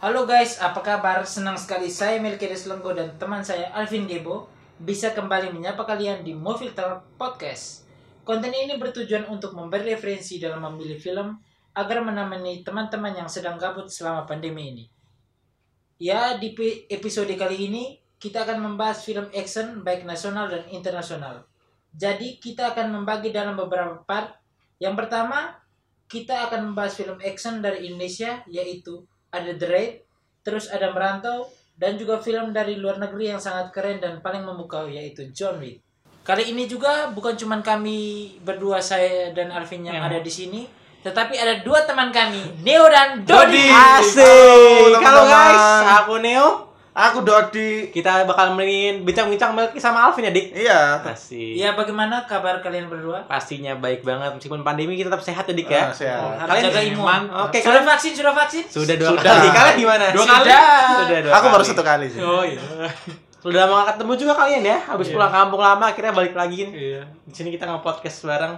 Halo guys, apa kabar? Senang sekali saya Melkides Lenggo dan teman saya Alvin Gebo bisa kembali menyapa kalian di Movie Talk Podcast. Konten ini bertujuan untuk memberi referensi dalam memilih film agar menemani teman-teman yang sedang gabut selama pandemi ini. Ya, di pe- episode kali ini kita akan membahas film action baik nasional dan internasional. Jadi kita akan membagi dalam beberapa part. Yang pertama, kita akan membahas film action dari Indonesia yaitu ada The Raid, terus ada Merantau, dan juga film dari luar negeri yang sangat keren dan paling memukau yaitu John Wick. Kali ini juga bukan cuman kami berdua saya dan Alvin yang Ya. ada di sini, tetapi ada dua teman kami, Neo dan Dodi. Asik. Halo, Halo guys, teman-teman. aku Neo. Aku Dodi. Kita bakal menin bincang-bincang Melki sama Alvin ya, Dik. Iya. Asik. Ya, bagaimana kabar kalian berdua? Pastinya baik banget meskipun pandemi kita tetap sehat ya, Dik ya. Ah, sehat. Oh, Harus Kalian jaga imun. man- Oke, sudah kalian vaksin, sudah vaksin? sudah dua Sudah. kali. Kalian gimana? Dua Sudah. kali. Sudah dua Aku baru kali. satu kali sih. Oh iya. Sudah lama gak ketemu juga kalian ya. Habis Iya. pulang kampung lama akhirnya balik lagi. Iya. Di sini kita nge-podcast bareng.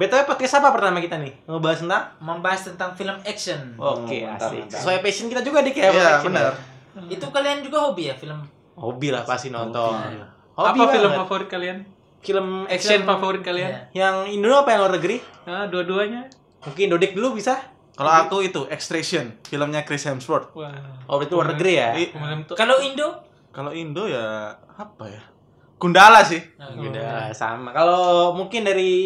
BTW podcast apa pertama kita nih? Ngebahas tentang Membahas tentang film action. Oh, Oke, mantap, asik. mantap. Sesuai passion kita juga Dik ya. Iya, podcast ini. benar. Itu kalian juga hobi ya film? Hobi lah pasti nonton. Iya. Hobi apa film banget. favorit kalian? film action Action favorit kalian? Iya. yang Indo apa yang luar negeri? Ah, dua-duanya. Mungkin Dodik dulu bisa. Kalau aku itu Extraction, filmnya Chris Hemsworth. Wah. Oh, berarti luar negeri ya. I- Kemarin tuh Iya. Kalau Indo? Kalau Indo ya apa ya? Gundala sih. Gundala Oh, nah, sama. Kalau mungkin dari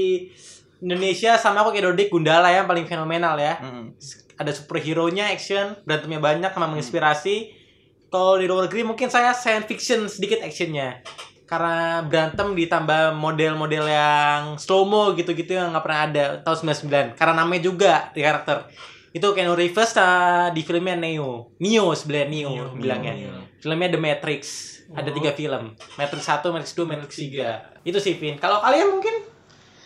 Indonesia sama aku kayak Dodik Gundala yang paling fenomenal ya. Mm. Ada superhero-nya, action, berantemnya banyak sama menginspirasi. Kalau di luar negeri mungkin saya science fiction sedikit actionnya. Karena berantem ditambah model-model yang slow mo gitu-gitu yang nggak pernah ada tahun 99. Karena namanya juga di karakter. Itu Keanu Reeves ah, di filmnya Neo. Neo sebenarnya Neo, Neo, bilangnya. Neo, Neo. Filmnya The Matrix. Ada Oh. tiga film. Matrix 1, Matrix 2, Matrix 3. Itu sih, Vin. Kalau kalian mungkin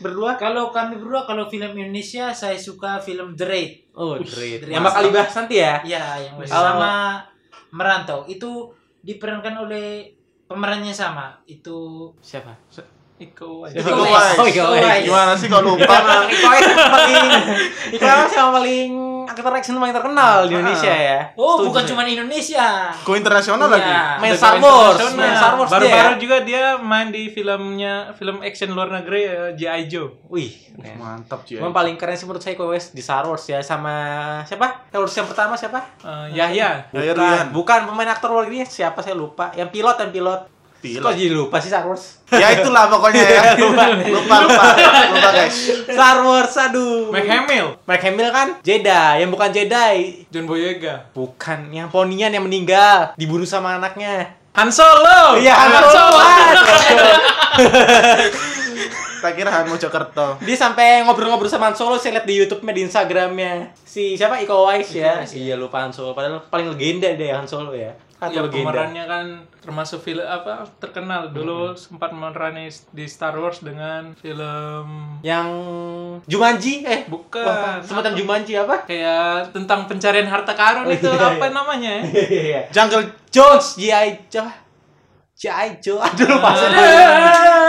berdua Kalau kami berdua kalau film Indonesia saya suka film The Raid. Oh, great. great. Yang bakal dibahas nanti ya. Ya, yang Kalau- sama Merantau itu diperankan oleh pemerannya sama. Itu Siapa? Iko Iko aja. Iko Uwais. Uwais. Iko Uwais. Eh, Gimana sih Iko kalau lupa? emang Iko Uwais yang paling Iko Uwais yang paling aktor action paling terkenal di Ah. Indonesia ya. Oh, Setuju bukan saya. cuma internasional. Ko internasional Iya. lagi. main Udah Star ke Wars, internasional. main Star Wars dia. Baru-baru ya? juga dia main di filmnya film action luar negeri eh, G.I. Joe. Wih. Uh, Mantap sih. Cuman paling keren sih menurut saya Iko Uwais di Star Wars ya sama siapa? Star Wars yang pertama siapa? Eh, Yahya. Yahya bukan, Rian. bukan pemain aktor luar negeri siapa saya lupa. Yang pilot yang pilot. Pilot. Kok jadi lupa sih Star Wars? Ya itulah pokoknya ya. lupa, lupa, lupa, lupa guys. Star Wars aduh. Mike Hamill. Mark Hamill kan Jedi, yang bukan Jedi. John Boyega. Bukan yang ponian yang meninggal, dibunuh sama anaknya. Oh, Han Solo. Iya, Han Solo. Tak kira Han Mojokerto. Dia sampai ngobrol-ngobrol sama Han Solo, saya lihat di YouTube-nya, di Instagram-nya. Si siapa Iko Uwais ya? Iya, lupa Han Solo. Padahal paling legenda dia Han Solo ya. Satu Ya, legenda. pemerannya kan termasuk film apa terkenal Hmm. dulu sempat memerani di Star Wars dengan film Yang Jumanji eh Bukan. wah, semacam Jumanji apa? kayak tentang pencarian harta karun Oh, itu iya, apa iya. namanya ya? Iya. Jungle Jones, G.I. Joe. G.I. Joe. Aduh, lupa.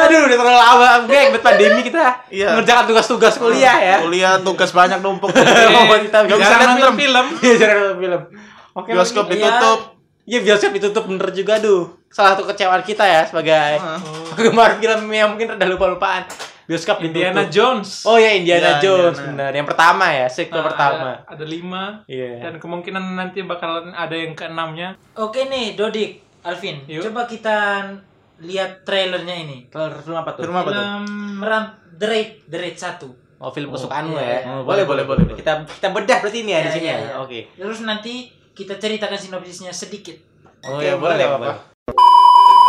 Aduh, udah terlalu lama. Gue ikut pandemi kita Iya. ngerjakan tugas-tugas kuliah ya. kuliah tugas banyak numpuk. Oh, Eh, kita nggak bisa jangan lihat ambil film. film. Iya, jarang nonton film. Oke, Bioskop mungkin- ditutup. Iya, bioskop ditutup bener juga duh. Salah satu kecewaan kita ya sebagai Heeh. Oh. penggemar film yang mungkin rada lupa-lupaan. Bioskop Indiana ditutup. gitu. Jones. Oh ya Indiana Ya, Jones benar. Indiana. Yang pertama ya, sequel Nah, pertama. Ada, ada lima. Iya. Dan kemungkinan nanti bakalan ada yang keenamnya. Oke nih, Dodik, Alvin. Yuk. Coba kita lihat trailernya ini. Trailer film apa tuh? Film apa tuh? Film Merant The Raid, The Raid 1. Oh, film kesukaan lo iya, ya. iya. Boleh, boleh, boleh, boleh. Kita kita bedah berarti ini ya, Iya, di sini iya, ya. iya. Oke. Terus nanti kita ceritakan sinopsisnya sedikit. Oh Oke, ya, boleh, boleh, boleh, boleh.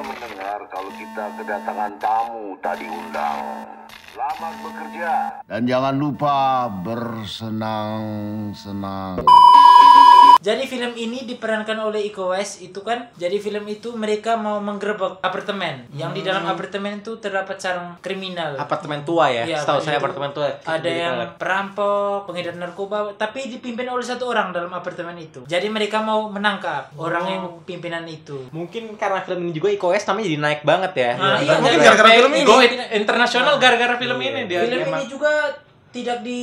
kita kedatangan tamu tadi undang. Selamat bekerja. Dan jangan lupa bersenang-senang. Jadi film ini diperankan oleh Iko West itu kan. Jadi film itu mereka mau menggerebek apartemen. Yang di dalam apartemen itu terdapat sarang kriminal. apartemen tua ya, Iya, setahu kayak saya gitu. apartemen tua Ada Jadi yang kolek. perampok, pengedar narkoba, tapi dipimpin oleh satu orang dalam apartemen itu. Jadi mereka mau menangkap orang yang pimpinan itu. mungkin karena film ini juga IKS namanya jadi naik banget Ah. ya Nah, Iya. iya, Mungkin jadi- gara-gara film ini Go Go internasional Nah, gara-gara film iya. ini dia film emang. ini juga tidak di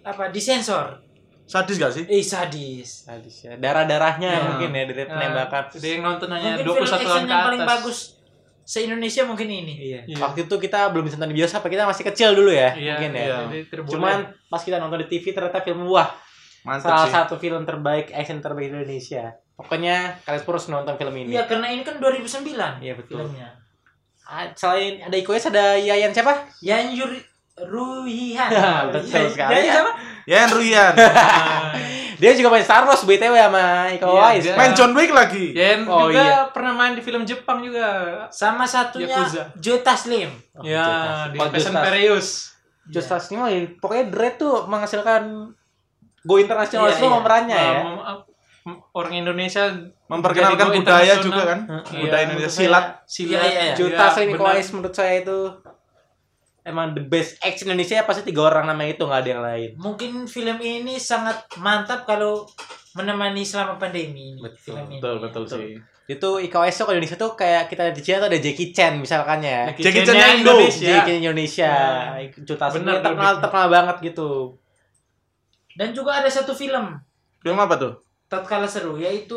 apa disensor. Sadis gak sih? Eh sadis. Sadis ya. darah-darahnya Iya. mungkin ya dari Nah, penembakan Jadi yang nonton hanya Mungkin 21 film action an ke yang atas. paling bagus se Indonesia mungkin ini. Iya. Iya. Waktu itu kita belum bisa nonton di bioskop, kita masih kecil dulu ya, Iya, mungkin ya. iya. Jadi terboleh. Cuman pas kita nonton di TV ternyata film wah, salah Mantap sih. satu film terbaik action terbaik Indonesia. Pokoknya kalian harus nonton film ini. Iya karena ini kan 2009 Iya, betul. filmnya. Ah, Selain ada Ikoes ada Yayan siapa? Yan Yuri Ruhihan. Betul sekali. Dari siapa? Ya, Ruyan. Nah, Dia juga main Star Wars BTW sama Ikoes. Iya, dia- Main John Wick lagi. Yen Oh, juga iya. pernah main di film Jepang juga. Sama satunya Yakuza. Joe Taslim. Oh, ya, Justas. di Oh, Fashion Justas. Perius. Justas ini mah, ya, pokoknya Dread tuh menghasilkan go internasional Iya, semua iya. pemerannya ya. Um, um, orang Indonesia Memperkenalkan jadi go budaya internasional. juga kan. Heeh. Budaya Iya, Indonesia menurut silat. saya Silat. Iya, iya, iya. Juta Iya, saya benar. Nikolas menurut saya itu emang the best ex Indonesia pasti tiga orang namanya itu nggak ada yang lain. Mungkin film ini sangat mantap kalau menemani selama pandemi ini. film ini. Itu IKOS tuh kalau Indonesia tuh kayak kita di Cina tuh ada Jackie Chan misalkan ya. Jackie Chan Chan-nya yang Indo. Indonesia. Jackie Chan Indonesia. Juta Benar, sebenarnya terkenal benar. terkenal banget gitu. Dan juga ada satu film Film apa tuh? tatkala seru yaitu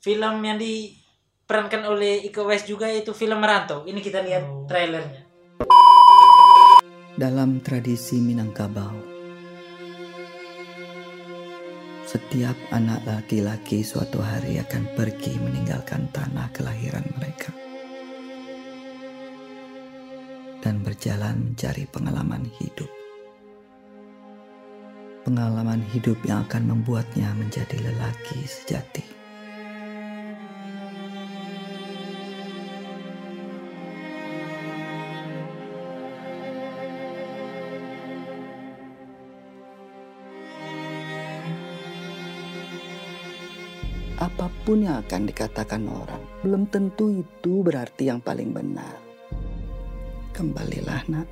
film yang diperankan oleh Iko West juga yaitu film Merantau. Ini kita lihat trailernya. Dalam tradisi Minangkabau, setiap anak laki-laki suatu hari akan pergi meninggalkan tanah kelahiran mereka dan berjalan mencari pengalaman hidup. Pengalaman hidup yang akan membuatnya menjadi lelaki sejati. apapun yang akan dikatakan orang, belum tentu itu berarti yang paling benar. Kembalilah, Nak.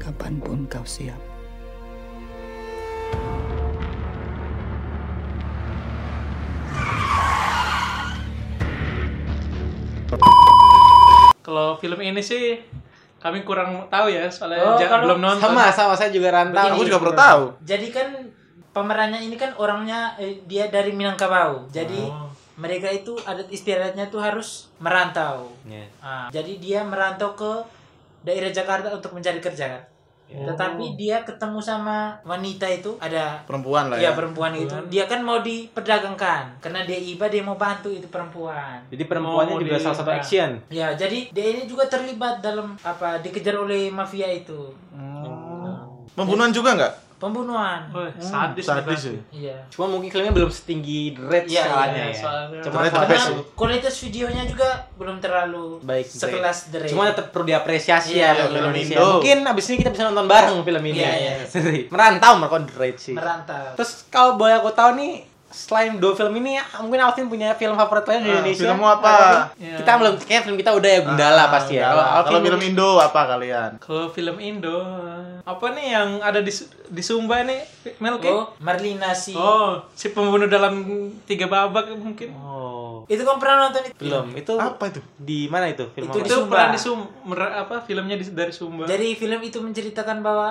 Kapanpun kau siap. Kalau film ini sih kami kurang tahu ya soalnya Oh, ja- kalau belum nonton. Sama sama saya juga rantau. Iya. Begini. Aku juga perlu tahu. Jadi kan pemerannya ini kan orangnya eh, dia dari Minangkabau. Jadi Oh. mereka itu adat istiadatnya tuh harus merantau. Iya. Ah, jadi dia merantau ke daerah Jakarta untuk mencari kerja kan. Oh. Oh. Tetapi dia ketemu sama wanita itu ada Perempuan lah ya ya. perempuan itu. Dia kan mau diperdagangkan karena dia iba dia mau bantu itu perempuan. Jadi perempuannya Mau juga di- salah satu nah. action. Ya, jadi dia ini juga terlibat dalam apa dikejar oleh mafia itu. Pembunuhan juga nggak? Pembunuhan. Wih, Oh, Sadis sadis, ya. juga. sih. Iya. Cuma mungkin filmnya belum setinggi Dread Iya, soalnya iya, ya. soalnya. Cuma Dread the soalnya- best. Karena kualitas videonya juga belum terlalu Baik, sekelas Dre. Cuma tetap perlu Iya, diapresiasi iya, ya film film Indonesia. Indo. Mungkin abis ini kita bisa nonton bareng film ini. Iya, ya iya. Merantau mereka Dread sih. merantau. Terus kalau boleh aku tahu nih selain dua film ini mungkin Alvin punya film favorit lain di Ah, Indonesia. filmmu apa? Iya. Kita belum kayak film kita udah ya Gundala pasti ya. Kalau Kalau Alvin kalau film Indo apa kalian? Kalau film Indo apa nih yang ada di Su- di Sumba nih Melki? Oh. Oh, Marlina si. si pembunuh dalam tiga babak mungkin. Oh, Itu kan pernah nonton itu? belum. Itu Apa itu? di mana itu film Itu apa? di Itu Sumba. peran di Sum mer- apa filmnya di- dari Sumba. Jadi film itu menceritakan bahwa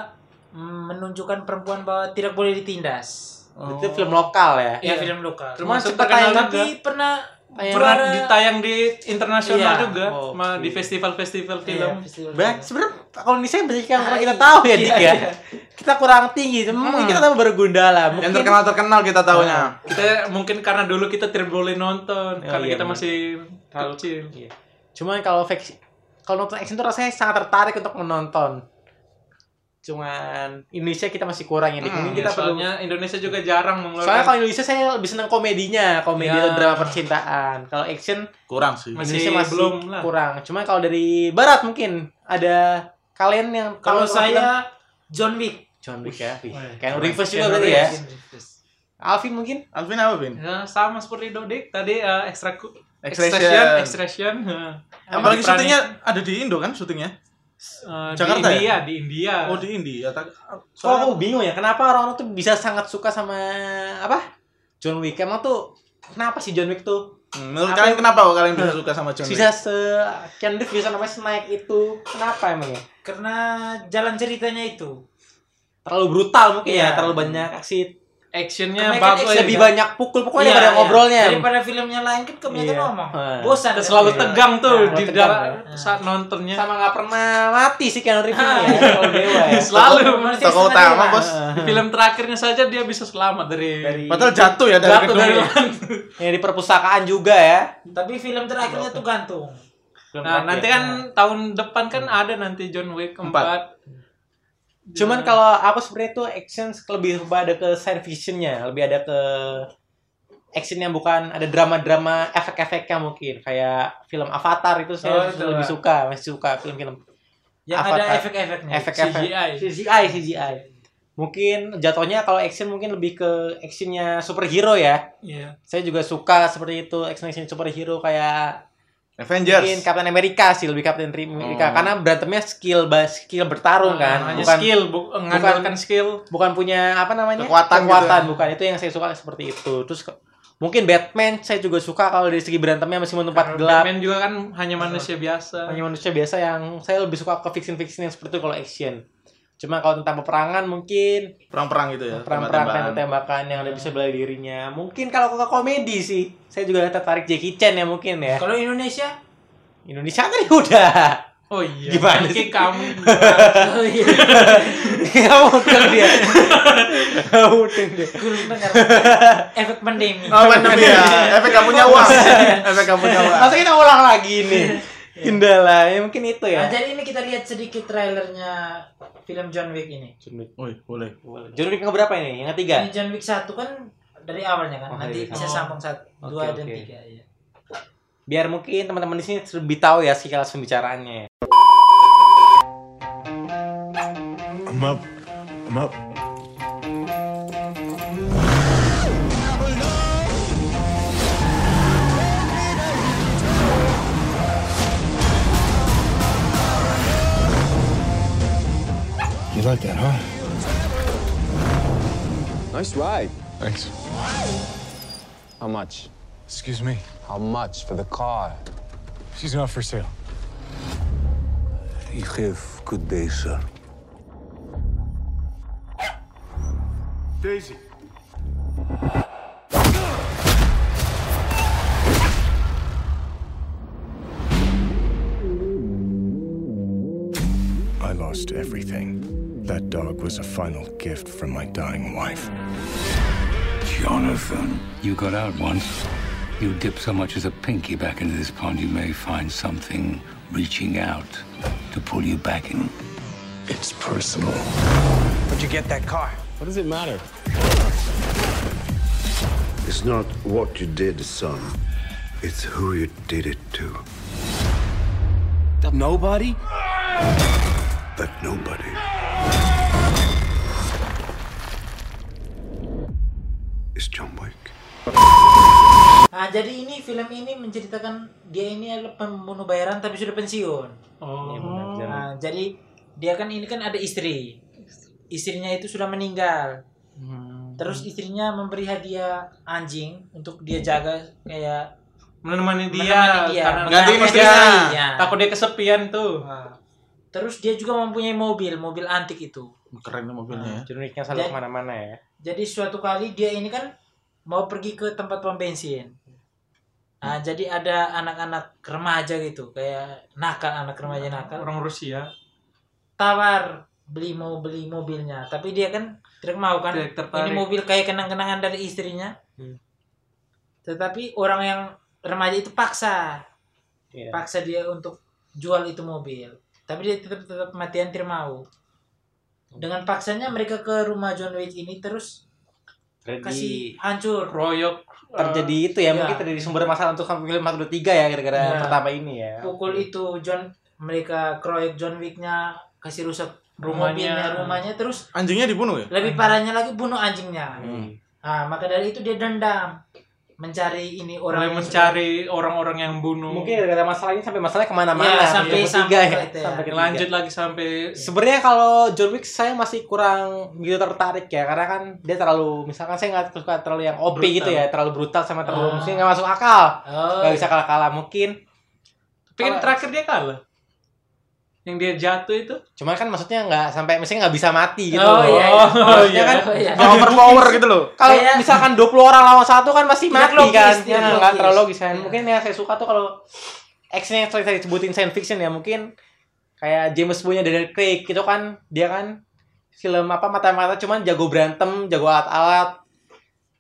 mm, menunjukkan perempuan bahwa tidak boleh ditindas. Itu Oh. film lokal ya. Ya, film lokal. Cuma Termasuk sempat terkenal tayang, juga. tapi pernah Pernah juara ditayang di internasional Iya. juga, Oh, ma- di oke. Iya, festival-festival film. festival Banyak film. sebenarnya kalau Indonesia banyak yang kurang kita tahu ya Dik ya. Kita kurang tinggi. Mungkin kita tahu baru Gundala. Mungkin Yang terkenal-terkenal kita tahunya. Kita mungkin karena dulu kita tidak boleh Oh, nonton karena iya, kita benar. masih kecil. Iya. Cuman kalau faksi- kalau nonton action tuh rasanya sangat tertarik untuk menonton. cuman Indonesia kita masih kurang ya Dik. Mungkin Hmm, kita perlu soalnya Indonesia juga jarang mengeluarkan Soalnya kalau Indonesia saya lebih senang komedinya, komedi Ya. atau drama percintaan. Kalau action kurang sih Masih Indonesia masih belum lah. kurang. Cuma kalau dari barat mungkin ada kalian yang Kalau nonton saya John Wick. film John Wick ya. Wih, Wih, Keanu keren. Reeves juga Keanu berarti ya. Reeves. Alvin mungkin? Alvin apa Vin? Ya, sama seperti Dodik tadi eh, ekstra ku- Extraction. extraction. eh, Apalagi Perannya- syutingnya ada di Indo kan syutingnya? eh, Jakarta di ya? India, di India. Oh di India. Tak- Soalnya Soalnya aku bingung ya, kenapa orang-orang tuh bisa sangat suka sama apa? John Wick. Emang tuh kenapa sih John Wick tuh? Hmm, menurut Apa- kalian kenapa kok kalian bisa suka sama John Wick? Bisa se Keanu Reeves bisa namanya snack itu. Kenapa ya? emangnya? Karena jalan ceritanya itu. Terlalu brutal mungkin Iya. ya, terlalu banyak aksi. Actionnya Kebanyakan bagus. aksi lebih ya. banyak pukul pokoknya Iya, daripada iya. ngobrolnya. Daripada filmnya lain kan kebanyakan Iya. ngomong. Ah. Bosan. Dan selalu Iya. tegang tuh Nah, di selalu tegang, dalam- ya. saat nontonnya. sama nggak pernah mati sih Keanu Reeves ini ya kalau dewa ya Selalu Manusia Tokoh setengah utama dewa. bos. di film terakhirnya saja dia bisa selamat dari, dari Padahal jatuh ya dari jatuh gedung. dari ya. lantai. ya, di perpustakaan juga ya Tapi film terakhirnya tuh gantung. Nah, nanti kan tahun depan kan Hmm. ada nanti John Wick keempat. cuman Iya. kalau aku sebenarnya tuh action lebih pada ke science fictionnya lebih ada ke action yang bukan ada drama-drama efek-efeknya mungkin kayak film Avatar itu Oh, saya itu, lebih Pak. suka masih suka film-film Yang Ya, ada Avatar. Hmm, efek-efeknya. efek-efek CGI. CGI CGI mungkin jatuhnya kalau action mungkin lebih ke actionnya superhero ya Iya. saya juga suka seperti itu action action superhero kayak Avengers. mungkin Captain America sih lebih Captain America Hmm. karena berantemnya skill ba- skill bertarung kan Nah, hanya bukan skill, bu- mengandalkan skill. bukan punya apa namanya Kekuatan gitu. bukan itu yang saya suka seperti itu terus ke- mungkin Batman saya juga suka kalau dari segi berantemnya masih Karena menempat gelap Batman juga kan hanya manusia biasa. hanya manusia biasa yang saya lebih suka ke fiction fiction yang seperti itu kalau action cuma kalau tentang peperangan mungkin Perang-perang gitu ya. perang-perang tembak-tembakan. tembakan yang ada bisa belah dirinya mungkin kalau ke komedi sih saya juga tertarik Jackie Chan ya mungkin ya Kalau Indonesia? Indonesia tadi udah Oh iya. Gimana sih? Mungkin kamu Oh iya. Gak mudeng Iya, dia Gak mudeng dia Guru bener. Efek pandemi. Oh, pandemi ya. Efek gak punya uang. Efek gak punya uang. Masa kita ulang lagi nih Kendala ya mungkin itu Nah, ya jadi ini kita lihat sedikit trailernya film John Wick ini. Wih, boleh. John Wick yang berapa ini? Yang ketiga? Ini John Wick 1 kan dari awalnya kan. Ya. Oh, Nanti iya. bisa Oh. sambung 1, 2 Oke, dan oke. 3 ya. Biar mungkin teman-teman di sini lebih tahu ya sekilas pembicaraannya Iya, Nice ride. Thanks. How much? Excuse me? How much for the car? She's not for sale. You have good day, sir. Daisy. I lost everything. That dog was a final gift from my dying wife. Jonathan, you got out once. You dip so much as a pinky back into this pond, you may find something reaching out to pull you back in. It's personal. What does it matter? It's not what you did, son. It's who you did it to. Nobody? That nobody. Is John Wick. Nah, jadi ini film ini menceritakan dia ini adalah pembunuh bayaran tapi sudah pensiun. Iya, Oh. Nah, jadi dia kan ini kan ada istri. Istrinya itu sudah meninggal. Terus istrinya memberi hadiah anjing untuk dia jaga kayak menemani dia, menemani dia. karena Gantiin Karena istrinya. dia- ya. takut dia kesepian tuh. Nah, Terus dia juga mempunyai mobil, mobil antik itu. Keren tuh mobilnya ya. John Wicknya selalu Dan- kemana-mana ya Jadi suatu kali dia ini kan mau pergi ke tempat pom bensin. Nah, jadi ada anak-anak remaja gitu, kayak nakal anak remaja nakal. Orang Rusia, tawar beli mau beli mobilnya tapi dia kan tidak mau kan Tidak tertarik. ini mobil kayak kenang-kenangan dari istrinya Hmm. tetapi orang yang remaja itu paksa Iya. paksa dia untuk jual itu mobil tapi dia tetap tetap matian tidak mau Hmm. Dengan paksanya mereka ke rumah John Wick ini terus kasih hancur. royok eh, terjadi itu iya. ya, mungkin terjadi sumber masalah untuk film 423 ya gara-gara Iya. pertama ini ya. pukul Iya. itu John mereka keroyok John Wicknya kasih rusak Rumahnya. mobilnya rumahnya terus Anjingnya dibunuh ya? lebih parahnya lagi bunuh anjingnya Hmm. nah maka dari itu dia dendam mencari ini orang yang mulai Oh, mencari orang-orang yang bunuh Mungkin gara-gara masalahnya sampai masalahnya kemana-mana. Ya, sampai- Sampai sampai tiga ke ya. itu ya. Sampai ke lanjut lagi sampai Iya. Sebenarnya kalau John Wick saya masih kurang gitu tertarik ya karena kan dia terlalu misalkan saya nggak suka terlalu yang OP Brutal. gitu ya terlalu brutal sama terlalu Ah. maksudnya nggak masuk akal Oh, nggak bisa kalah kalah mungkin tapi kan terakhir dia kalah yang dia jatuh itu cuman kan maksudnya nggak sampai maksudnya nggak bisa mati gitu Oh, loh. iya, iya. maksudnya kan Oh, iya. kalau Overpower gitu loh. kalau Kayak- misalkan 20 orang lawan satu kan pasti Tidak mati logis, kan tidak ya, logis. nggak terlalu logis kan Iya. mungkin yang saya suka tuh kalau actionnya yang tadi saya sebutin science fiction ya mungkin kayak James Bond-nya Daniel Craig gitu kan dia kan film apa mata-mata cuman jago berantem jago alat-alat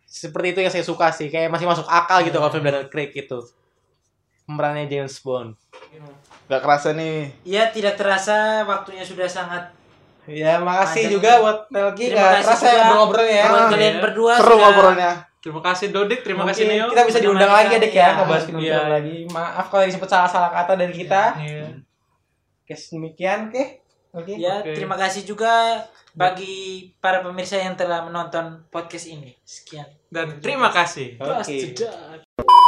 seperti itu yang saya suka sih kayak masih masuk akal gitu kalau film Daniel Craig gitu pemerannya James Bond Gak kerasa nih. ya tidak terasa waktunya sudah sangat ya makasih Ada- juga buat Melki Terima nggak kasih terasa juga. ya ngobrol-ngobrolnya ya buat Ah, kalian iya. berdua Seru sudah- ngobrolnya. terima kasih Dodik terima kasih Mungkin Neo kita bisa diundang lagi menemani adik kami, ya ya. ngebahas film Iya. lagi maaf kalau tadi sempat salah-salah kata dari kita Iya. Oke, demikian, oke. Oke. ya Oke. terima kasih juga bagi para pemirsa yang telah menonton podcast ini sekian dan terima kasih Oke. Sudah.